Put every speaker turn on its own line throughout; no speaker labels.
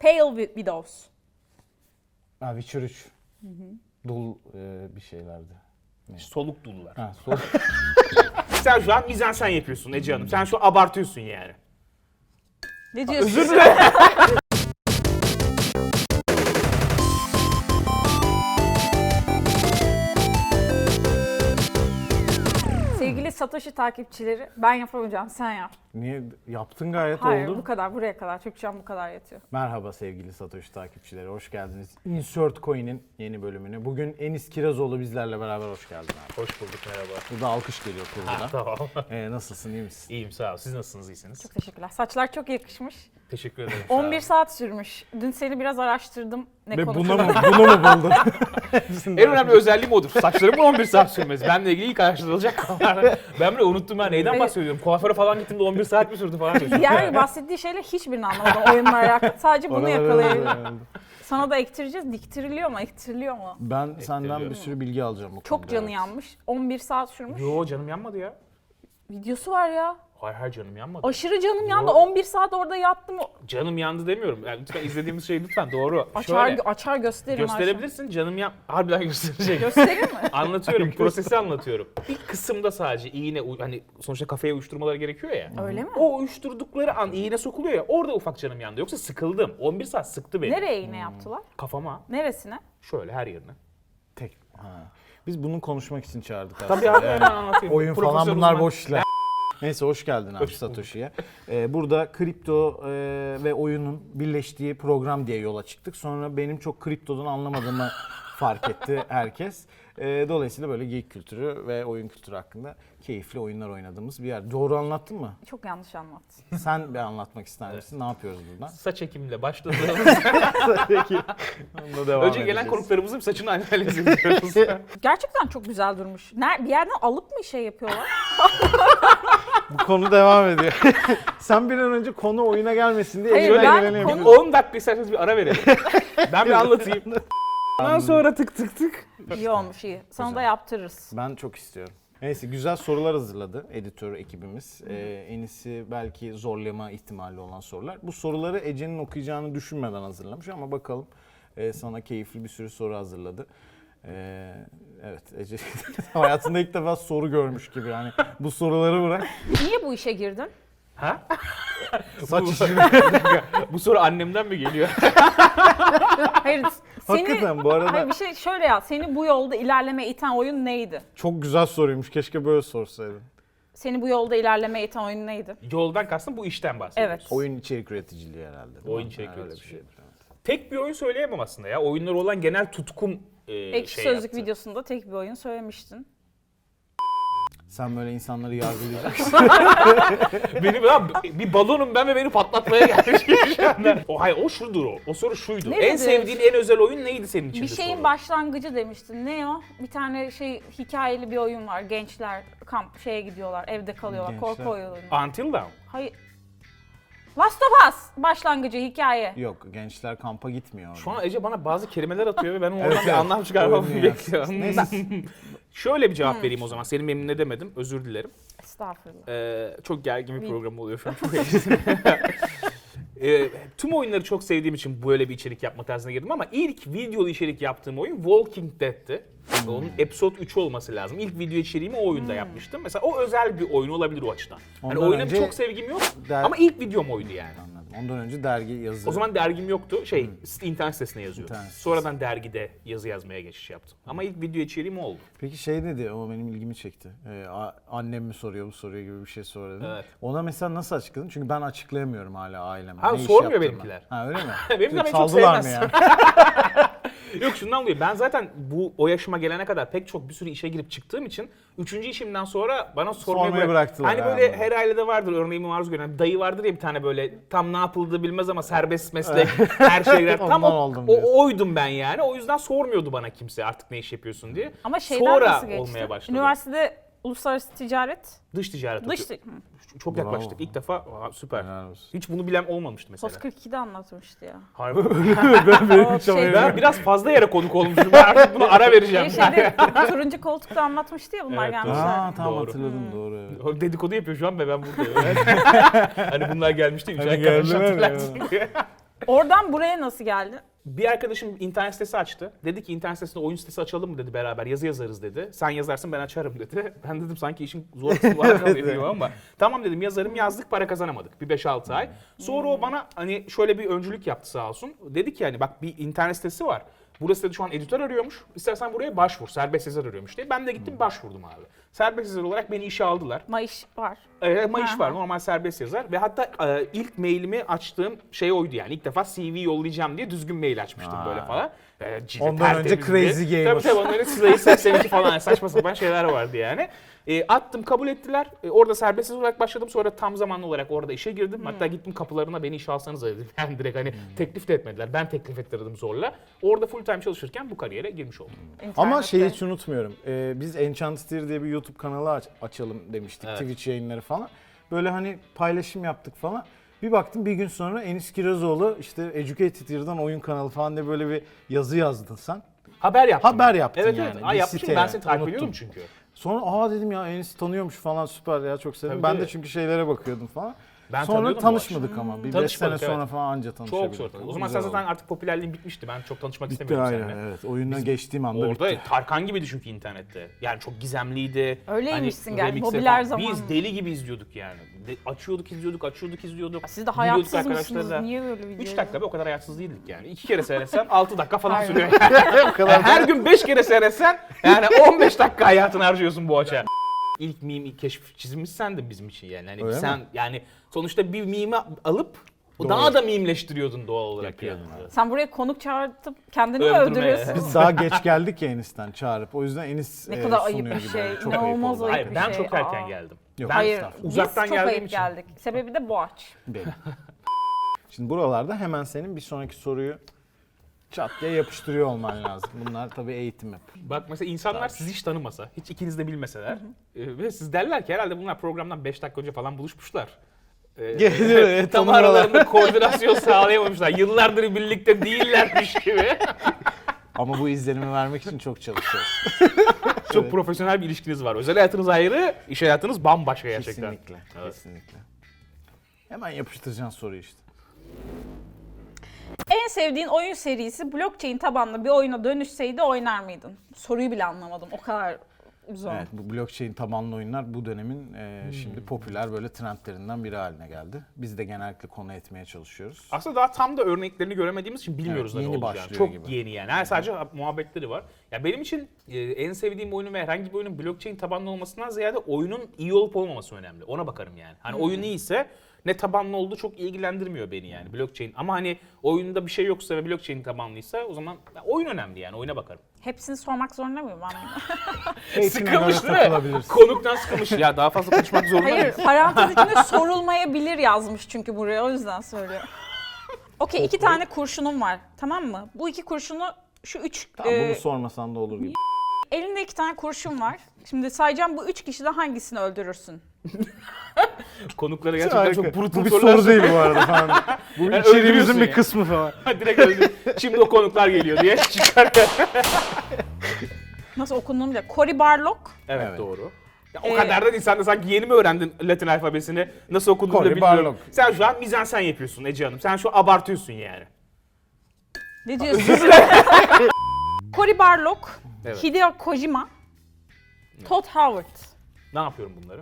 Pale Wi- Widows.
Ha Witcher 3. Dul e, bir şeylerdi.
Soluk dulular.
Ha, sol.
Sen şu an mizansen yapıyorsun Ece Hanım. Sen şu an abartıyorsun yani.
Ne diyorsun? Sevgili Satoshi takipçileri ben yapamayacağım sen yap.
Niye? Yaptın gayet
Hayır
oldu.
bu kadar buraya kadar. Türkçem bu kadar yetiyor.
Merhaba sevgili Satoshi takipçileri. Hoş geldiniz. Insert Coin'in yeni bölümüne. Bugün Enis Kirazoğlu bizlerle beraber hoş geldin abi.
Hoş bulduk merhaba.
Burada alkış geliyor kurguda.
Tamam.
E, nasılsın iyi misin?
İyiyim sağ ol. Siz nasılsınız? iyisiniz?
Çok teşekkürler. Saçlar çok yakışmış.
Teşekkür ederim. sağ ol.
11 saat sürmüş. Dün seni biraz araştırdım. Ne
Ve
konuşalım?
bunu mu, bunu mu buldun?
En önemli özelliğim odur. Saçlarımın 11 saat sürmesi. Benimle ilgili ilk araştırılacak konular. Ben bile unuttum ben neyden bahsediyorum. Kuaföre falan gittim de 11 saat mi sürdü falan. diyorsun.
Yani bahsettiği şeyle hiçbirini anlamadım oyunla alakalı. Sadece bunu
Oralara
yakalayabilirim.
doğru geldi.
Sana da ektireceğiz. Diktiriliyor mu? Ektiriliyor mu?
Ben senden bir sürü bilgi alacağım bu
Çok
konuda,
canı
evet.
yanmış. 11 saat sürmüş.
Yo canım yanmadı ya.
Videosu var ya.
Hayır hayır canım yanmadı.
Aşırı canım yandı.
Yo.
11 saat orada yattım.
Canım yandı demiyorum. Yani lütfen izlediğimiz şey lütfen doğru.
Açar,
Şöyle,
açar gösteririm.
gösterebilirsin canım yan... Harbiden gösterecek.
Gösterir mi?
Anlatıyorum, prosesi anlatıyorum. İlk kısımda sadece iğne, u- hani sonuçta kafaya uyuşturmaları gerekiyor ya.
Öyle mi?
O uyuşturdukları an iğne sokuluyor ya, orada ufak canım yandı. Yoksa sıkıldım. 11 saat sıktı beni.
Nereye iğne yaptılar?
Kafama,
Neresine?
şöyle her yerine.
Tek. Ha. Biz bunu konuşmak için çağırdık aslında.
Tabii abi hemen Ee, anlatayım.
Oyun falan
Profesör
bunlar
uzman.
boş işler. Neyse hoş geldin abi
Hoş bulduk.
Satoshi'ye. Ee, burada kripto e, ve oyunun birleştiği program diye yola çıktık. Sonra benim çok kriptodan anlamadığımı fark etti herkes. Ee, dolayısıyla böyle geek kültürü ve oyun kültürü hakkında keyifli oyunlar oynadığımız bir yer. Doğru anlattın mı?
Çok yanlış anlattın.
Sen bir anlatmak ister misin? Ne yapıyoruz buradan?
Saç ekimle başladığımız,
Peki. Onunla devam
önce gelen
edeceğiz.
konuklarımızın saçını analiz ediyoruz.
Gerçekten çok güzel durmuş. Ner bir yerden alıp mı şey yapıyorlar?
Bu konu devam ediyor. Sen bir an önce konu oyuna gelmesin diye
Hayır,
elime
ben
geleni
konu-
yapıyorsun.
10 dakika isterseniz bir ara verelim. ben bir anlatayım. Ondan sonra tık tık tık.
iyi olmuş iyi. Sana da
Güzel.
yaptırırız.
Ben çok istiyorum. Neyse güzel sorular hazırladı editör ekibimiz. Ee, en iyisi belki zorlama ihtimali olan sorular. Bu soruları Ece'nin okuyacağını düşünmeden hazırlamış ama bakalım Ee, sana keyifli bir sürü soru hazırladı. Ee, evet Ece hayatında ilk defa soru görmüş gibi yani bu soruları bırak.
Niye bu işe girdin?
Ha?
Saç
Bu-
işini.
Bu soru annemden mi geliyor?
Hayır seni...
Hakikaten bu
Hayır
arada
bir şey şöyle ya. Seni bu yolda ilerleme iten oyun neydi?
çok güzel soruymuş keşke böyle sorsaydın.
Seni bu yolda ilerleme iten oyun neydi?
Yoldan kastım bu işten bahsediyoruz.
Evet.
Şey, Oyun içerik üreticiliği herhalde. değil mi?
Oyun içerik
Ha, öyle bir şey.
üreticiliği.
şeydir, evet.
Tek bir oyun söyleyemem aslında ya. Oyunlara olan genel tutkum e,
Ekşi
şey
Sözlük
yaptı.
videosunda tek bir oyun söylemiştin.
Sen böyle insanları yargılayacaksın.
Beni lan bir balonum ben ve beni patlatmaya gelmiş gibi şu anda. O hayır o şudur o. O soru şuydu.
Nerededir?
En sevdiğin en özel oyun neydi senin için?
Bir şeyin başlangıcı demiştin. Ne o? Bir tane şey hikayeli bir oyun var. Gençler kamp şeye gidiyorlar, evde kalıyorlar.
Gençler.
Korku oyunu.
Until Dawn.
Hayır. Last of Us başlangıcı hikaye.
Yok gençler kampa gitmiyor.
Şu an Ece bana bazı kelimeler atıyor ve ben oradan
Evet,
bir
evet.
anlam çıkarmamı
Oyun
bekliyorum.
Neyse.
Şöyle bir cevap vereyim o zaman. Seni memnun edemedim. Özür dilerim.
Estağfurullah.
Ee, çok gergin bir
Bil-
program oluyor şu an. Çok heyecanlıyım. Ee, tüm oyunları çok sevdiğim için böyle bir içerik yapma tarzına girdim ama ilk videolu içerik yaptığım oyun Walking Dead'ti.
Hmm.
Onun episode 3 olması lazım. İlk video içeriğimi o oyunda yapmıştım. Mesela o özel bir oyun olabilir o açıdan. Hani
Ondan
oyuna
önce
çok sevgim yok
der-
ama ilk videom oydu yani.
Anladım. Ondan önce dergi yazı.
O zaman dergim yoktu. Şey, site- internet sitesine yazıyordum.
Hmm. İnternet sitesi.
Sonradan dergide yazı yazmaya geçiş yaptım. Ama ilk video içeriğim o oldu.
Peki şey dedi ama benim ilgimi çekti. Ee, a- annem mi soruyor bu soruyu gibi bir şey söyledi.
Evet.
Ona mesela nasıl açıkladın? Çünkü ben açıklayamıyorum hala aileme.
Ha,
Ne iş
sormuyor
yaptığımı.
benimkiler.
Ha öyle mi?
Benimkiler beni çok
Saldılar
sevmez.
yani?
Yok şundan dolayı ben zaten bu o yaşıma gelene kadar pek çok bir sürü işe girip çıktığım için üçüncü işimden sonra bana sormayı,
Sormayı bıraktılar,
Hani
ha,
böyle
anladım.
her ailede vardır örneğimi maruz gören dayı vardır ya bir tane böyle tam ne yapıldığı bilmez ama serbest meslek her şey girer. tam o,
Ondan oldum
o-
diyorsun.
oydum ben yani o yüzden sormuyordu bana kimse artık ne iş yapıyorsun diye.
Ama şeyden
sonra
nasıl geçti?
olmaya başladı.
Üniversitede uluslararası ticaret,
Dış ticaret
dış...
oku-
Hı.
Çok
Bravo.
yaklaştık ilk defa Aa, süper.
Helal olsun.
Hiç bunu bilen olmamıştı mesela.
Post 42'de anlatmıştı ya.
Harbi.
O şey,
ben biraz fazla yere konuk olmuşum. Ben artık bunu ara vereceğim.
bir şeyde turuncu koltukta anlatmıştı ya bunlar
şey Evet, doğru.
gelmişler.
Ha tamam
Doğru.
hatırladım doğru. evet.
O dedikodu yapıyor şu an ve ben buradayım. hani bunlar gelmişti. Üç
Hani
ay kadar
geldiler
hatırlattım diye.
Oradan buraya nasıl geldi?
Bir arkadaşım internet sitesi açtı. Dedi ki internet sitesinde oyun sitesi açalım mı dedi beraber yazı yazarız dedi. Sen yazarsın ben açarım dedi. Ben dedim sanki işin zor kısmı var herhalde bilmiyorum ama. Tamam dedim yazarım yazdık para kazanamadık bir 5-6 ay. Sonra o bana hani şöyle bir öncülük yaptı sağ olsun. Dedi ki hani bak bir internet sitesi var. Burası dedi şu an editör arıyormuş. İstersen buraya başvur. Serbest yazar arıyormuş diye. Ben de
Hmm.
gittim başvurdum abi. Serbest yazar olarak beni işe aldılar.
Mayış var.
E, ama iş
Aha.
var normal serbest yazar ve hatta e, ilk mailimi açtığım şey oydu yani ilk defa CV yollayacağım diye düzgün mail açmıştım
Ha.
böyle falan. E, cildi
Ondan
tertemiz
önce
diye.
Crazy Gamer.
Tabii tabii ondan önce Slay 82 falan saçma sapan şeyler vardı yani. E, attım kabul ettiler. E, orada serbest yazar olarak başladım sonra tam zamanlı olarak orada işe girdim. Hatta gittim kapılarına beni işe alsanız dedim. Yani direkt
Hmm.
hani teklif de etmediler ben teklif ettirdim zorla. Orada full time çalışırken bu kariyere girmiş oldum.
Ama şey
İnternette.
şeyi hiç unutmuyorum. Ee, biz Enchanted diye bir YouTube kanalı aç- açalım demiştik.
Evet.
Twitch yayınları falan. Böyle hani paylaşım yaptık falan. Bir baktım bir gün sonra Enis Kirazoğlu işte Educated Year'dan oyun kanalı falan diye böyle bir yazı yazdın sen.
Haber yaptım.
Haber
ben.
yaptın
evet,
yani,
Evet
bir
evet yapmışım
siteye.
ben seni takip ediyordum
Unuttum.
çünkü.
Sonra aa dedim ya Enis tanıyormuş falan süper ya çok sevdim.
Tabii,
ben de
tabii.
çünkü şeylere bakıyordum falan.
Ben
sonra
tanıyordum bu
tanışmadık ama. Bir beş
Tanışmadık,
sene
evet.
sonra falan anca
Çok
tanışabildik.
zor. O
Güzel
zaman sen zaten
oldu.
artık popülerliğin bitmişti. Ben çok tanışmak
bitti
istemiyordum
aynen
seninle.
evet. Oyuna geçtiğim anda
Orada
bitti.
Tarkan gibi düşün ki internette. Yani çok gizemliydi.
Öyleymişsin
Hani
galiba,
remix'e
popüler
falan.
zaman.
Biz deli gibi izliyorduk yani. De- açıyorduk izliyorduk, açıyorduk izliyorduk.
Siz de
Gidiyorduk
hayatsız mısınız?
arkadaşlarla.
Niye böyle videolar?
3 dakika be o kadar hayatsız değildik yani. 2 kere seyretsem 6 dakika falan
Aynen.
sürüyor. Yani
o kadar
her gün 5 kere seyretsen yani 15 dakika hayatını harcıyorsun bu açığa. İlk meme ilk keşif çizimi sendin bizim için yani. Hani
Öyle
sen yani sonuçta bir meme alıp
Doğru.
daha da mimleştiriyordun doğal olarak yani.
Yapıyordum, evet.
Sen buraya konuk çağırtıp kendini mi
Öldürmeye.
öldürüyorsun?
Biz daha geç geldik ya Enis'ten çağırıp. O yüzden Enis
Ne
e,
kadar ayıp
sunuyor
bir
gibi.
şey,
Çok
inanılmaz
oldu.
ayıp.
Hayır
bir
ben
şey.
çok erken
Aa.
geldim.
Yok,
Ben-
Hayır,
estağfurullah.
Uzaktan
biz çok
geldiğim
ayıp
için.
geldik. Sebebi de Boğaç.
Benim. Şimdi buralarda hemen senin bir sonraki soruyu çat diye yapıştırıyor olman lazım. Bunlar tabii eğitim hep.
Bak mesela insanlar sizi hiç tanımasa, hiç ikiniz de bilmeseler e, ve siz derler ki herhalde bunlar programdan 5 dakika önce falan buluşmuşlar. E,
Gelir, e,
tam
tanımıyorlar.
aralarında koordinasyon sağlayamamışlar. Yıllardır birlikte değillermiş gibi.
Ama bu izlenimi vermek için çok çalışıyoruz.
Çok profesyonel bir ilişkiniz var. Özel hayatınız ayrı, iş hayatınız bambaşka gerçekten.
kesinlikle.
Evet.
Kesinlikle. Hemen yapıştıracaksın soruyu işte.
En sevdiğin oyun serisi blockchain tabanlı bir oyuna dönüşseydi oynar mıydın? Soruyu bile anlamadım. O kadar zor.
Evet, bu blockchain tabanlı oyunlar bu dönemin e,
Hmm.
şimdi popüler böyle trendlerinden biri haline geldi. Biz de genellikle konu etmeye çalışıyoruz.
Aslında daha tam da örneklerini göremediğimiz için bilmiyoruz
Evet,
da
yeni
ne olacağını.
başlıyor
Çok
gibi.
yeni yani. Her sadece muhabbetleri var. Ya benim için e, en sevdiğim oyunun ve herhangi bir oyunun blockchain tabanlı olmasından ziyade oyunun iyi olup olmaması önemli. Ona bakarım yani. Hani oyun iyiyse ne tabanlı olduğu çok ilgilendirmiyor beni yani blockchain. Ama hani oyunda bir şey yoksa ve blockchain tabanlıysa o zaman ya oyun önemli yani oyuna bakarım.
Hepsini sormak zorunda mıyım ben?
Keyfine göre
Sıkılmış değil mi?
takılabilirsin.
Konuktan sıkılmış. ya daha fazla konuşmak zorunda
Hayır,
mıyız?
parantez içinde sorulmayabilir yazmış çünkü buraya o yüzden söylüyorum. Okey, iki tane kurşunum var. Tamam mı? Bu iki kurşunu şu üç
Tamam
e,
bunu sormasan da olur gibi.
Elinde iki tane kurşun var. Şimdi sayacağım bu üç kişiden hangisini öldürürsün?
Konuklara gerçekten çok brutal
bu bir
sorular
soru değil bu arada falan. bu
Yani
içeriğimizin
öldürüyorsun
bir
ya.
kısmı falan.
Direkt öldüm. Şimdi o konuklar geliyor diye çıkar.
Nasıl okunduğunu bile. Cory Barlog.
Evet,
Evet.
doğru. Ya
Ee,
o kadar da insan da sanki yeni mi öğrendin Latin alfabesini? Nasıl okunduğunu da
Cory
bilmiyorum.
Barlog.
Sen şu an mizansen yapıyorsun Ece Hanım. Sen şu an abartıyorsun yani.
Ne diyorsun? Cory Barlog,
Evet.
Hideo Kojima, Todd Howard.
Ne yapıyorum bunları?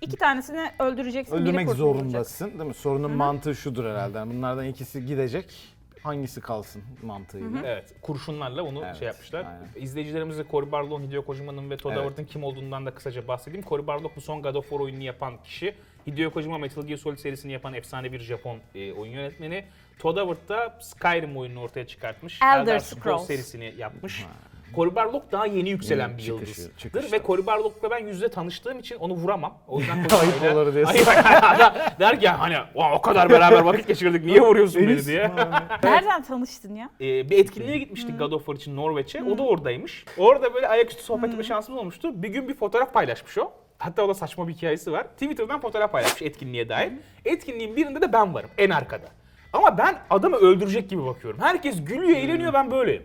İki tanesini öldüreceksin. biri
Öldürmek
kurtulacak.
zorundasın değil mi? Sorunun mantığı şudur herhalde. Yani Bunlardan ikisi gidecek, hangisi kalsın mantığıyla.
Evet. Kurşunlarla onu
Evet,
şey yapmışlar.
aynen.
İzleyicilerimize Cory Barlog'un, Hideo Kojima'nın ve Todd
Evet.
Howard'ın kim olduğundan da kısaca bahsedeyim. Cory Barlog bu son God of War oyununu yapan kişi. Hideo Kojima Metal Gear Solid serisini yapan efsane bir Japon e, oyun yönetmeni. Todd Howard da Skyrim oyununu ortaya çıkartmış.
Elder Scrolls.
serisini yapmış. Cory Barlog daha yeni yükselen
Yeni
bir
çıkışı,
yıldızdır
çıkışta.
ve Cory Barlog'la ben yüzde tanıştığım için onu vuramam. O yüzden
Ayıp
Kojima'yla-
olur diyorsun.
Ayıp. Adam Der ki hani "Ulan o kadar beraber vakit geçirdik niye vuruyorsun beni
Enis,
diye.
Nereden tanıştın ya?
Ee, bir etkinliğe gitmiştik God of War için Norveç'e. O da oradaymış. Orada böyle ayaküstü sohbet etme şansımız olmuştu. Bir gün bir fotoğraf paylaşmış o. Hatta o da saçma bir hikayesi var. Twitter'dan fotoğraf paylaşmış etkinliğe dair. Etkinliğin birinde de ben varım en arkada. Ama ben adamı öldürecek gibi bakıyorum. Herkes gülüyor, eğleniyor ben böyleyim.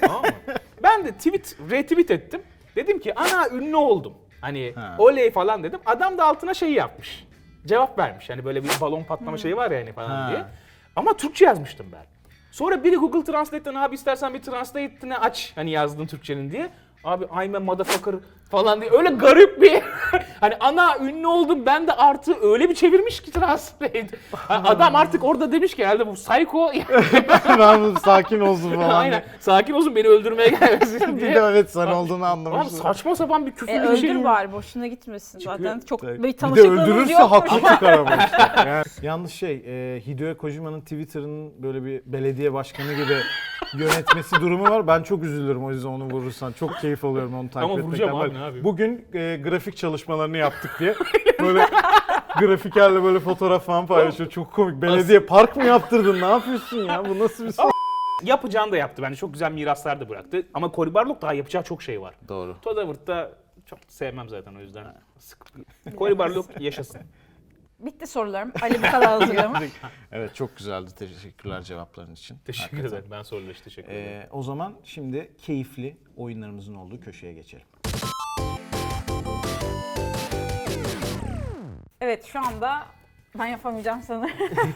tamam mı? Ben de tweet, retweet ettim. Dedim ki ana ünlü oldum. Hani
Ha.
oley falan dedim. Adam da altına şey yapmış. Cevap vermiş. Hani böyle bir balon patlama şeyi var ya hani falan
Ha.
diye. Ama Türkçe yazmıştım ben. Sonra biri Google Translate'ten abi istersen bir translate'ini aç hani yazdığın Türkçenin diye. Abi I'm a motherfucker falan diye öyle garip bir hani ana ünlü oldum ben de artı öyle bir çevirmiş ki translate.
Hmm.
Hani adam artık orada demiş ki herhalde bu psycho
ben bu sakin olsun falan.
aynen sakin olsun beni öldürmeye gelmesin
Bir
diye.
de evet sen olduğunu
Abi
anlamışsın.
saçma sapan bir küfür
E,
bir şey.
öldür bari boşuna gitmesin zaten. Çok
Tabii.
bir
Bir de
tanışıklığınız
öldürürse
yok.
haklı çıkar ama işte. Yani yalnız şey, e, Hideo Kojima'nın Twitter'ın böyle bir belediye başkanı gibi yönetmesi durumu var. Ben çok üzülürüm o yüzden onu vurursan. Çok keyif alıyorum onu takip
Ama
etmekten.
vuracağım abi,
Ben-
ne yapayım?
Bugün e, grafik çalışmalarını yaptık diye böyle grafikerle böyle fotoğraf falan paylaşıyor. Çok komik. Belediye park mı yaptırdın? Ne yapıyorsun ya? Bu nasıl bir şey?
Yapacağını da yaptı bence. Çok güzel miraslar da bıraktı. Ama Cory Barlog daha yapacağı çok şey var.
Doğru.
Todd Howard'da çok sevmem zaten o yüzden. Sıkı- Cory Barlog yaşasın.
Bitti sorularım. Ali bu kadar hazırlamış.
Evet çok güzeldi. Teşekkürler cevapların için.
Teşekkür ederim. Ben sorular için teşekkür ederim.
Ee, o zaman şimdi keyifli oyunlarımızın olduğu köşeye geçelim.
evet şu anda ben yapamayacağım sanırım.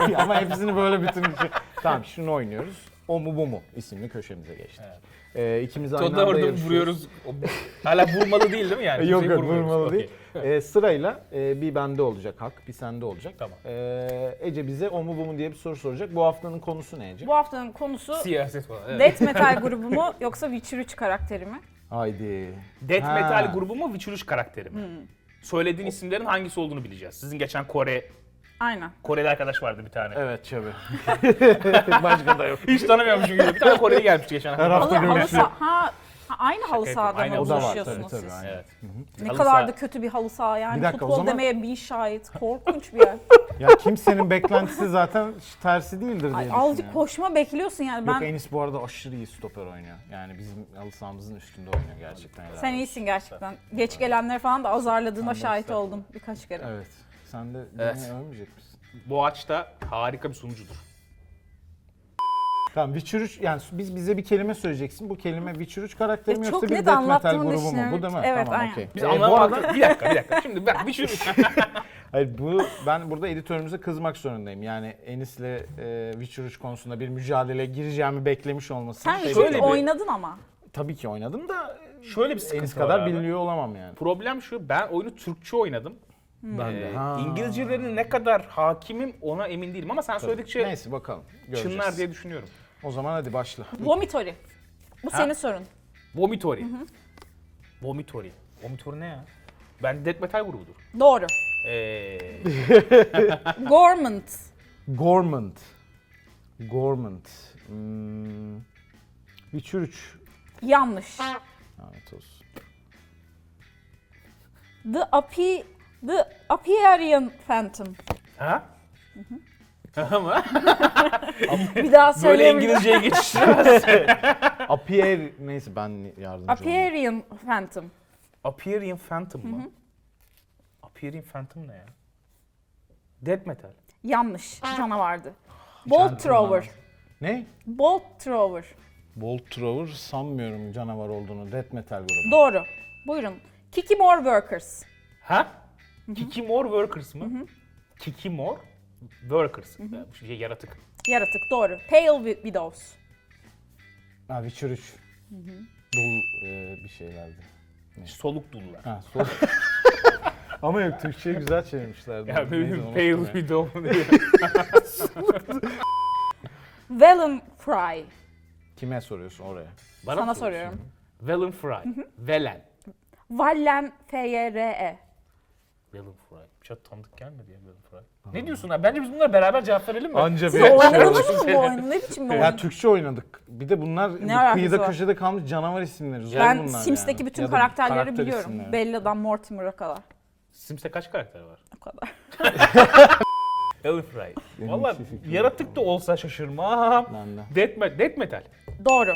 Ama hepsini böyle bitirince. tamam şunu oynuyoruz. O mu bu mu isimli köşemize geçtik. Ee, ikimiz aynı
Todd
anda
Howard'ı
yarışıyoruz.
vuruyoruz. Hala vurmalı değil değil mi yani?
Yok
Kimseyi
yok
vurmuyoruz.
vurmalı
Okey.
değil. Ee, sırayla e, bir bende olacak hak, bir sende olacak.
Tamam.
Ee, Ece bize o mu bu mu diye bir soru soracak. Bu haftanın konusu ne Ece?
Bu haftanın konusu
Siyaset falan. Evet.
Death Metal grubu mu yoksa Witcher 3 karakteri mi?
Haydi.
Death
Ha.
Metal grubu mu, Witcher 3 karakteri mi? Söylediğin isimlerin hangisi olduğunu bileceğiz. Sizin geçen Kore,
Aynen.
Koreli arkadaş vardı bir tane.
Evet çabuk. Başka da yok.
Hiç tanımıyorum çünkü. Bir tane Koreli gelmişti geçen
Her hafta
Halı, halı
görüşürüz.
saha. Ha, ha, aynı halı
yapıyorum,
sahada
aynı
mı
O
halı
da var
buluşuyorsunuz
tabii
siz?
tabii. aynen.
Evet.
Ne
Halı
kadar da
saha.
kötü bir halı saha yani.
Bir dakika, o
Futbol
zaman-
demeye bin şahit. Korkunç bir yer.
Ya kimsenin beklentisi zaten tersi değildir diye
Ay,
düşünüyorum.
azıcık koşma bekliyorsun yani.
Yok
Ben
Enis bu arada aşırı iyi stoper oynuyor. Yani bizim halı sahamızın üstünde oynuyor gerçekten. helal
Sen
olsun.
iyisin gerçekten. Geç gelenleri falan da azarladığıma şahit oldum birkaç kere.
Evet. Sen de
Evet.
beni övmeyecek misin?
Boğaç'ta harika bir sunucudur.
Tamam Witcher 3 yani biz bize bir kelime söyleyeceksin. Bu kelime Witcher 3 karakteri mi
Ya
yoksa
çok
bir
net
death metal
anlattığını
grubu mu? Bu
düşünüyorum.
değil mi?
Evet,
tamam
aynen.
okey.
Biz
Ee, bu
anlamadık.
arada
Bir dakika bir dakika. Şimdi bak Witcher 3.
hayır, bu ben burada editörümüze kızmak zorundayım. Yani Enis'le e, Witcher 3 konusunda bir mücadele gireceğimi beklemiş olması.
Sen
Şey-
Witcher'ı
şöyle bir-
oynadın ama.
tabii ki oynadım da
Şöyle bir sıkıntı
Enis
var
kadar
abi.
biliniyor olamam yani.
Problem şu ben oyunu Türkçe oynadım.
Ben
Ee,
Ha.
İngilizcelerine ne kadar hakimim ona emin değilim ama sen söyledikçe
Neyse bakalım. Göreceğiz.
çınlar diye düşünüyorum.
O zaman hadi başla.
Vomitori. Bu senin sorun.
Vomitori. Vomitori. Vomitori ne ya? Ben death metal grubudur.
Doğru.
Ee,
Gormant.
Gormand. Gormand. Hmm. Witcher 3.
Yanlış.
Lanet olsun.
The Api... The Apiarian Phantom.
ha? Ama
Bir daha
böyle
söyleyeyim.
İngilizceye geçiştiremez.
Apier neyse ben yardımcı olayım.
Apiarian Phantom.
Appearing Phantom mı? Appearing Phantom ne ya? Death metal.
Yanlış. Canavardı. Bolt Thrower.
Ne?
Bolt Thrower.
Bolt Thrower sanmıyorum canavar olduğunu. Death Metal grubu.
Doğru. Buyurun. Kiki More Workers.
Ha? Kiki More Workers mı? Kiki More Workers. Bu Şey, yaratık.
Yaratık. Doğru. Pale Wi- Widows.
Ha Witcher 3. Dul e, bir şeylerdi.
Soluk dullar.
Ha sol. Ama yok Türkçe'ye güzel çevirmişlerdi.
Ya benim Pale Widow mu diye.
Velen Fry.
Kime soruyorsun oraya?
Bana
Sana
soruyorsun.
soruyorum.
Velen Fry. Velen.
Vallen F-Y-R-E.
Velen Fry. Bir şey tanıdık gelmedi ya Velen Fry. Ne diyorsun abi? Bence biz bunlara beraber cevap verelim mi?
Anca
Siz
bir şey
oynadınız
olur.
mı bu oyunu? Ne biçim bir
Ya
oyun?
Türkçe oynadık. Bir de bunlar bu
alakası
kıyıda
var?
köşede kalmış canavar isimleri. Zor
Ben
bunlar
Sims'teki
yani.
bütün
Ya da
karakterleri
karakter
biliyorum.
isimleri.
Bella'dan Mortimer'a kadar.
Sims'te kaç karakter var?
O kadar.
Velen Fry.
Benim
Valla
hiçbir fikrim yok.
yaratık da olsa şaşırmam.
Ben de.
Death, me- death Metal.
Doğru.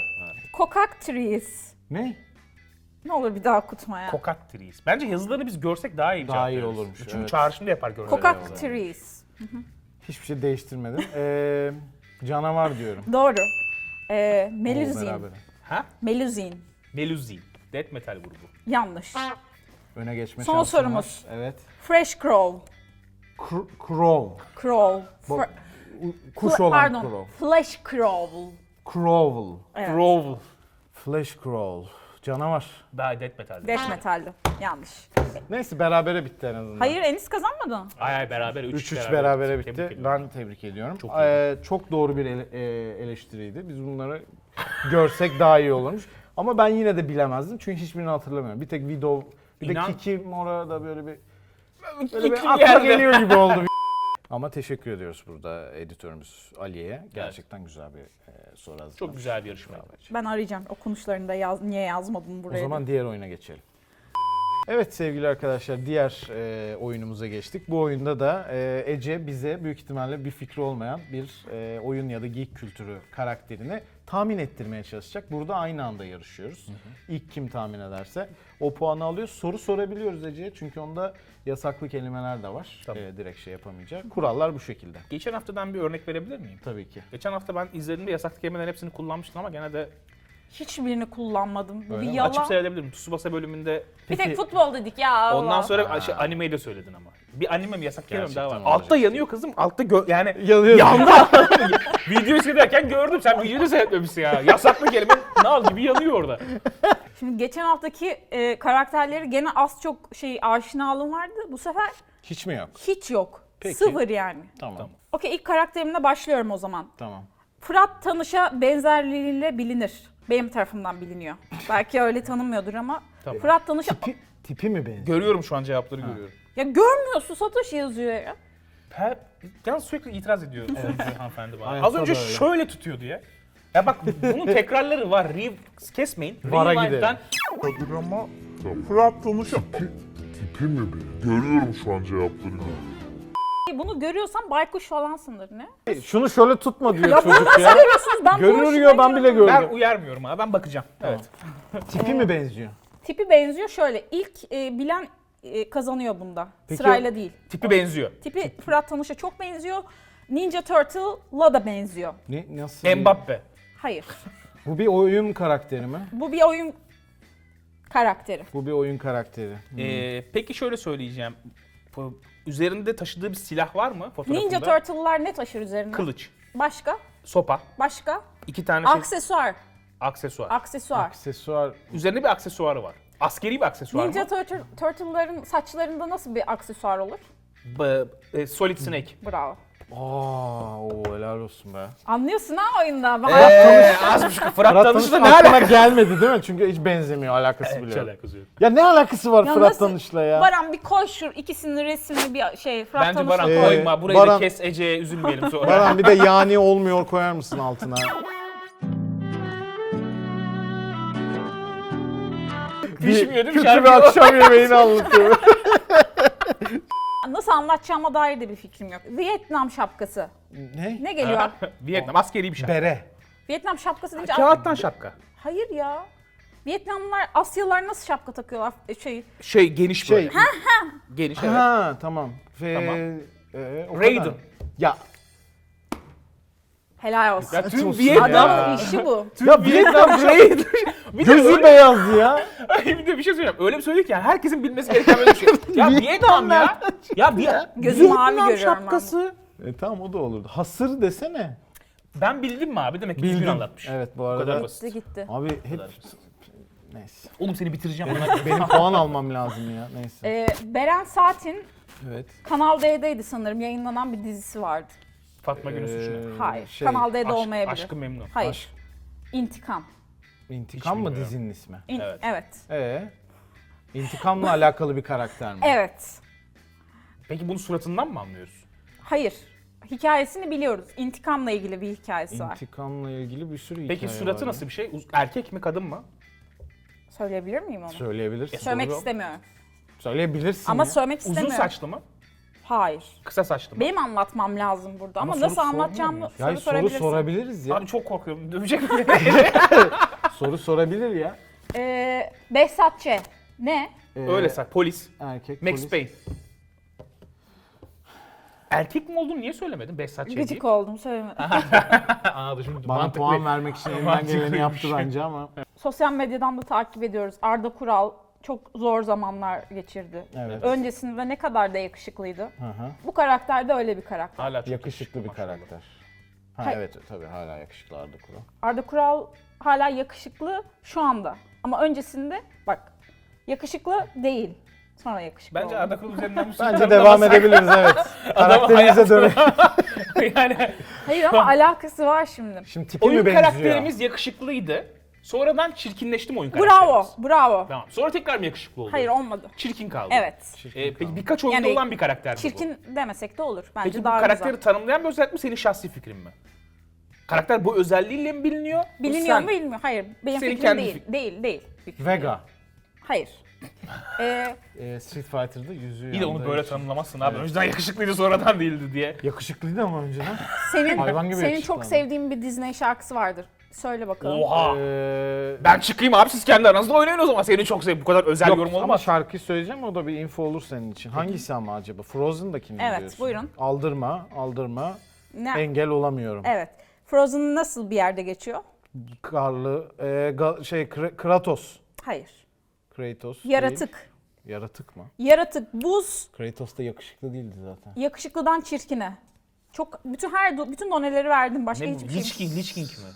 Kokak Trees.
Ne?
Ne olur bir daha okutma ya.
Kokat Trees. Bence yazıları biz görsek daha iyi
Daha
cevap
iyi
veririz.
olurmuş,
Çünkü
evet.
çağrışımda yapar görünüyor.
Kokak Trees.
Hiçbir şey değiştirmedim. Ee, canavar diyorum.
Doğru. Ee,
Oo,
Meluzin.
berabere.
Ha?
Meluzin.
Meluzi. Death Metal grubu.
Yanlış.
Öne geçme
Son
şansım
sorumuz.
var. Evet.
Fresh Crow.
Kr- Crow.
Crow.
Bu-
Fre-
u- kuş
Fla-
olan
Pardon.
crow.
Flash Crow.
Crowl.
Evet.
Grovel.
Flash crowl. Canavar.
Daha death metal.
Death metaldi. Yanlış.
Neyse berabere bitti en azından.
Hayır Enis kazanmadı.
Ay ay beraber 3-3
3-3 berabere bitti.
Tebrik ediyorum.
ben tebrik ediyorum.
Çok
Çok,
iyi.
çok doğru bir ele- e, eleştiriydi. Biz bunları görsek daha iyi olurmuş. Ama ben yine de bilemezdim çünkü hiçbirini hatırlamıyorum. Bir tek Widow, bir
İnan-
de Kiki Mora da böyle bir böyle
Kiki
bir akla
yerde.
geliyor gibi oldu. Ama teşekkür ediyoruz burada editörümüz Ali'ye. Gerçekten güzel bir e, soru hazırlamış.
Çok güzel bir yarışmaydı.
Ben arayacağım. Okunuşlarını da yaz, niye yazmadın buraya?
O zaman diğer oyuna geçelim. Evet sevgili arkadaşlar diğer e, oyunumuza geçtik. Bu oyunda da e, Ece bize büyük ihtimalle bir fikri olmayan bir e, oyun ya da geek kültürü karakterini tahmin ettirmeye çalışacak. Burada aynı anda yarışıyoruz. İlk kim tahmin ederse o puanı alıyor. Soru sorabiliyoruz Ece'ye çünkü onda yasaklı kelimeler de var.
Tamam.
E, direkt şey yapamayacak. Kurallar bu şekilde.
Geçen haftadan bir örnek verebilir miyim?
Tabii ki.
Geçen hafta ben izlediğimde yasaklı kelimelerin hepsini kullanmıştım ama gene de
Hiçbirini kullanmadım. Bu
Öyle
bir
mi?
yalan.
açıp seyredebilirim. Tsubasa bölümünde
Bir
Peki-
tek futbol dedik ya. Allah.
ondan sonra
Ha.
şey, animeyi de söyledin ama. Bir anime mi yasak kelime mi daha var.
Gerçekten
Altta
olacak.
yanıyor kızım. Altta gö- yani
Yanıyor.
yandı. Videoyu seyrederken gördüm. Sen videoyu da seyretmemişsin ya. Yasaklı kelime nal gibi yanıyor orada.
Şimdi geçen haftaki e, karakterleri gene az çok şey aşinalığım vardı. Bu sefer
Hiç mi yok?
hiç yok.
Peki.
Sıfır yani.
Tamam.
Okey ilk karakterimle başlıyorum o zaman.
Tamam.
Fırat Tanış'a benzerliğiyle bilinir. Benim tarafımdan biliniyor. Belki öyle tanımıyordur ama.
Tamam.
Fırat Tanış'a...
Tipi, tipi mi benziyor?
Görüyorum şu an cevapları görüyorum.
Ya görmüyorsun Satoshi yazıyor ya.
Her, yalnız sürekli itiraz ediyor sunucu hanımefendi bana.
Aynen,
Az önce
tabii öyle.
şöyle tutuyordu ya. Ya bak bunun tekrarları var. Re- kesmeyin.
Vara
Rewind'den
Kadir ama Fırat tanışım. Tipi mi bir? Görüyorum şu an cevapları.
Bunu görüyorsan baykuş falansındır ne?
Şunu şöyle tutma diyor
Ya bunu
çocuk
nasıl
ya.
görüyorsunuz? Ben bu hoşuma
Görünüyor ben
gidiyorum.
bile gördüm.
Ben uyarmıyorum abi. Ben bakacağım. Evet.
Tipi mi benziyor?
Tipi benziyor şöyle. İlk e, bilen e, kazanıyor bunda.
Peki-
Sırayla değil.
Tipi benziyor.
Tipi Fırat Tanış'a çok benziyor. Ninja Turtle'la da benziyor.
Ne nasıl? bir-
Mbappe.
Hayır.
Bu bir oyun karakteri mi?
Bu bir oyun karakteri.
Bu bir oyun karakteri.
Ee, peki şöyle söyleyeceğim. Bu- Üzerinde taşıdığı bir silah var mı fotoğrafında?
Ninja Turtle'lar ne taşır üzerine?
Kılıç,
Başka?
sopa,
Başka?
iki tane şey-
Aksesuar.
aksesuar.
Aksesuar.
Aksesuar.
Üzerinde bir aksesuarı var. Askeri bir aksesuar
Ninja
mı?
Turtle, Turtle'ların saçlarında nasıl bir aksesuar olur?
Ba- e, Solid Snake.
Bravo.
Aa, o helal olsun be.
Anlıyorsun ha oyunda. Bak-
Eee az buçuk Fırat Tanış'la ne alakası?
gelmedi değil mi? Çünkü hiç benzemiyor alakası bile.
Hiç
yok.
alakası yok.
Ya ne alakası var
Ya
Fırat
nasıl-
Tanış'la ya?
Baran bir koy şu ikisinin resmini bir şey Fırat
Bence
Tanış'la
Baran
koy.
Ee,
koyma. Burayı da
Baran-
kes Ece'ye üzülmeyelim sonra.
Baran bir de yani olmuyor koyar mısın altına?
Pişmiyor değil mi?
Kötü
Şarkı
bir
yok.
akşam yemeğini anlatıyor.
Nasıl anlatacağıma dair de bir fikrim yok. Vietnam şapkası. Ne geliyor?
Vietnam askeri bir şapka.
Bere.
Vietnam şapkası deyince...
Kağıttan şapka.
Hayır ya. Vietnamlılar, Asyalılar nasıl şapka takıyorlar? E, Şey,
Şey geniş
Şey.
böyle. Geniş evet.
Ha tamam. Ve,
Tamam.
Ee, o kadar.
Raiden.
Ya.
helal olsun.
Ya tüm
olsun
Vietnam.
Adamın işi bu.
Ya Vietnam
Raiden. bir de
gözü
öyle,
beyaz ya.
bir de bir şey söyleyeyim. Öyle bir söyledik ki yani herkesin bilmesi gereken böyle bir şey. Ya Vietnam ya. Ya Vietnam.
Gözüm mavi görüyorum ben.
E, tamam o da olurdu. Hasır desene.
Ben bildim mi abi? Demek ki düzgün anlatmış.
Evet bu
Bu
arada.
kadar
Gitti
basit.
gitti.
Abi hep neyse.
Oğlum seni bitireceğim.
Benim puan almam lazım ya. Neyse.
Ee, Beren Saat'in
Evet.
Kanal D'deydi sanırım yayınlanan bir dizisi vardı.
Fatma Gönül suçu.
Ee,
Hayır.
şey,
Kanal D'de
Aşk-
olmayabilir.
Aşkı memnun.
Hayır.
Aşk.
İntikam.
İntikam
Hiç
mı
bilmiyorum.
dizinin ismi?
İn-
Evet.
evet.
Ee. İntikamla alakalı bir karakter mi?
Evet.
Peki bunu suratından mı anlıyoruz?
Hayır. Hikayesini biliyoruz. İntikamla ilgili bir hikayesi var.
İntikamla ilgili bir sürü
Peki
hikaye
suratı
var.
nasıl bir şey? Uz- Erkek mi kadın mı?
Söyleyebilir miyim onu?
Söyleyebilirsin.
Söylemek
Doğru.
istemiyorum.
Söyleyebilirsin
Ama
ya.
söylemek
Uzun
istemiyorum.
saçlı mı?
Hayır.
Kısa saçlı mı?
Benim anlatmam lazım burada ama,
Ama soru
nasıl anlatacağımı
sormuyor
Ya
soru,
soru
sorabilirsin.
sorabiliriz ya.
Abi çok korkuyorum. Dövecek mi?
soru sorabilir ya.
Ee, Behzat Ç. Ne?
Ee,
Öyle sak. Polis.
Erkek
Max
polis.
Payne. Erkek mi oldum niye söylemedin? Behzat Ç.
Gıcık oldum söyleme.
Aa, şimdi
Bana
mantıklı. şey.
puan vermek için elinden geleni
Mantıklıymış.
yaptı bence ama.
Sosyal medyadan da takip ediyoruz. Arda Kural, çok zor zamanlar geçirdi.
Evet.
Öncesinde ne kadar da yakışıklıydı.
Hı hı.
Bu karakter de öyle bir karakter.
Hala çok
Yakışıklı bir
maşallah.
karakter. Ha,
Hayır.
evet tabii hala yakışıklı Arda Kural.
Arda Kural hala yakışıklı şu anda. Ama öncesinde bak yakışıklı değil. Sonra yakışıklı
Bence
oldu.
Arda Kural üzerinden bu
Bence devam edebiliriz evet. Karakterimize dönelim.
yani
Hayır ama alakası var şimdi.
Şimdi tipi mi
oyun
benziyor?
karakterimiz yakışıklıydı. Sonradan çirkinleşti mi oyun
Bravo,
karakterimiz?
bravo.
Tamam. Sonra tekrar mı yakışıklı oldu?
Hayır olmadı.
Çirkin kaldı.
Evet.
Çirkin
Ee, peki
kaldı.
birkaç oyunda
Yani
olan bir karakter mi bu?
Çirkin demesek de olur. Bence
Peki bu
daha
karakteri
güzel.
tanımlayan bir özellik mi senin şahsi fikrin mi? Karakter bu özelliğiyle mi biliniyor? Bu
Biliniyor
sen-
mu bilmiyor. Hayır benim
Senin
fikrim
kendi
değil.
fik-
Değil değil. Fikrim
Vega.
değil. Hayır. Ee,
Ee, Street Fighter'da yüzüğü
İyi de onu
yandığı
böyle
için.
tanımlamazsın abi. Önceden yakışıklıydı sonradan değildi diye.
Yakışıklıydı ama önceden. Hayvan
senin
gibi
senin
yakışıklı
çok
adam.
sevdiğin bir Disney şarkısı vardır. Söyle bakalım.
Oha.
Ee,
ben çıkayım abi siz kendi aranızda oynayın o zaman. Seni çok sev. Bu kadar özel
Yok,
yorum
Ama
olmaz.
şarkıyı söyleyeceğim o da bir info olur senin için. Hangisi ama acaba? Frozen'daki mi
Evet,
diyorsun?
buyurun.
Aldırma, aldırma.
Ne?
Engel olamıyorum.
Evet. Frozen nasıl bir yerde geçiyor?
Karlı, e, Ga- şey Kra- Kratos.
Hayır.
Kratos. değil.
Yaratık.
Yaratık mı?
Yaratık, buz,
Kratos da yakışıklı değildi zaten.
yakışıklıdan çirkine. Çok bütün her do- bütün doneleri verdim başka
Ne bu?
hiçbir şey.
Lich King, Lich King mi?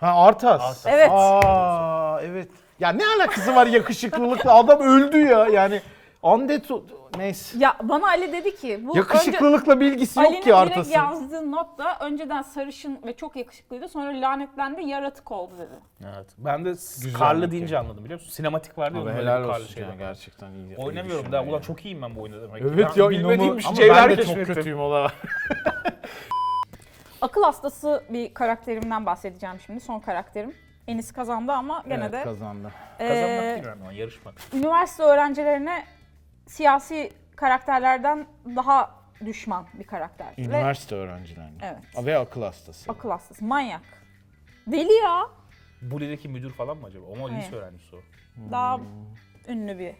Ha Arthas.
Evet.
Aa evet. Ya ne alakası var yakışıklılıkla? Adam öldü ya yani. Undead o- neyse.
Ya bana Ali dedi ki bu önce
Yakışıklılıkla bir ilgisi
Ali'nin
yok
direkt
ki Arthas'ın.
yazdığı not da önceden sarışın ve çok yakışıklıydı sonra lanetlendi yaratık oldu dedi.
Evet. Ben de s-
Güzel
karlı
bir
deyince
şey.
anladım biliyor musun? Sinematik vardı ya.
Abi
onun böyle
helal
bir karlı
olsun
şey
şeyden.
ya gerçekten iyi. şey iyi
Oynamıyorum
düşünme
daha.
ya.
Ulan çok iyiyim ben bu oyunda demek. ki.
Evet
Ben
ya
bilmediğim
inanılmaz.
bir şey
Ama
cevher
ben de çok
keşfettim.
kötüyüm ola.
Akıl hastası bir karakterimden bahsedeceğim şimdi son karakterim. Enis kazandı ama gene de
kazandı.
e,
Kazanmak değil önemli olan yarışmak.
üniversite öğrencilerine siyasi karakterlerden daha düşman bir karakter. Ve-
Üniversite öğrencilerine.
Evet.
Ve akıl hastası.
Akıl hastası, manyak. Deli ya.
Bule'deki müdür falan mı acaba? Ama
Hayır.
lise öğrencisi o.
Daha
Hmm.
ünlü bir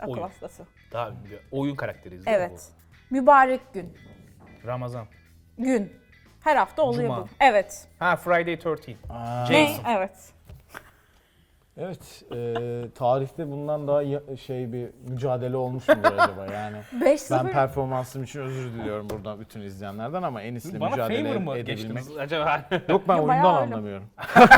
akıl
Oyun.
hastası.
Daha ünlü. Oyun karakteriyiz değil mi
Evet. Mübarek gün.
bu? Ramazan.
Gün. Her hafta oluyor
Cuma.
bu. Evet.
Ha Friday 13.
Aa.
Ne?
Jason.
Evet.
Evet. e, tarihte bundan daha ya- şey bir mücadele olmuş mudur acaba yani?
5-0.
Ben performansım için özür diliyorum buradan bütün izleyenlerden ama Enis'le
Bana
mücadele
favor mu
ed- edebilmek.
geçtiniz acaba?
Yok ben
Ya bayağı
oyundan
öyle.
anlamıyorum.
Hala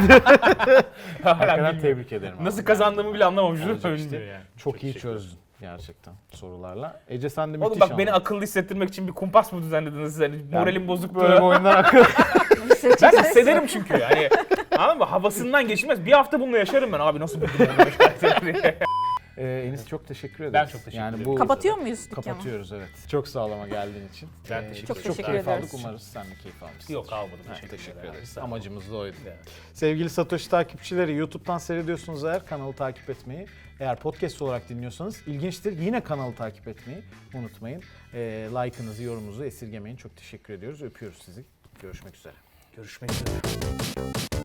Hakikaten
bilmiyorum.
tebrik ederim. abi.
Nasıl kazandığımı bile anlamamışım.
Olacak
Bilmiyorum
işte.
yani.
Çok, iyi
teşekkür ederim.
çözdün gerçekten sorularla. Ece sen de müthiş
Oğlum bak beni
anladın.
akıllı hissettirmek için bir kumpas mı düzenlediniz siz? Hani moralim bozuk
Böyle
böyle.
bu oyundan akıl.
Ben hissederim çünkü yani. Anladın mı? Havasından geçilmez. Bir hafta bununla yaşarım ben. Abi nasıl bildim bunu diye.
Ee, Enis çok teşekkür ederiz.
Ben çok teşekkür
yani
ederim.
Bu
Kapatıyor muyuz dükkanı?
Kapatıyoruz evet. Çok sağlama geldiğin için.
Ben
Ee,
teşekkür
Çok
Çok
teşekkür
keyif aldık.
ederiz.
Umarız sen de keyif almışsın.
Yok almadım.
Teşekkür, ederiz.
Ama
Amacımız da oydu.
Evet.
Sevgili Satoshi takipçileri YouTube'dan seyrediyorsunuz eğer kanalı takip etmeyi. Eğer podcast olarak dinliyorsanız ilginçtir yine kanalı takip etmeyi unutmayın. Ee, Like'ınızı, yorumunuzu esirgemeyin. Çok teşekkür ediyoruz. Öpüyoruz sizi. Görüşmek üzere.
görüşmek üzere.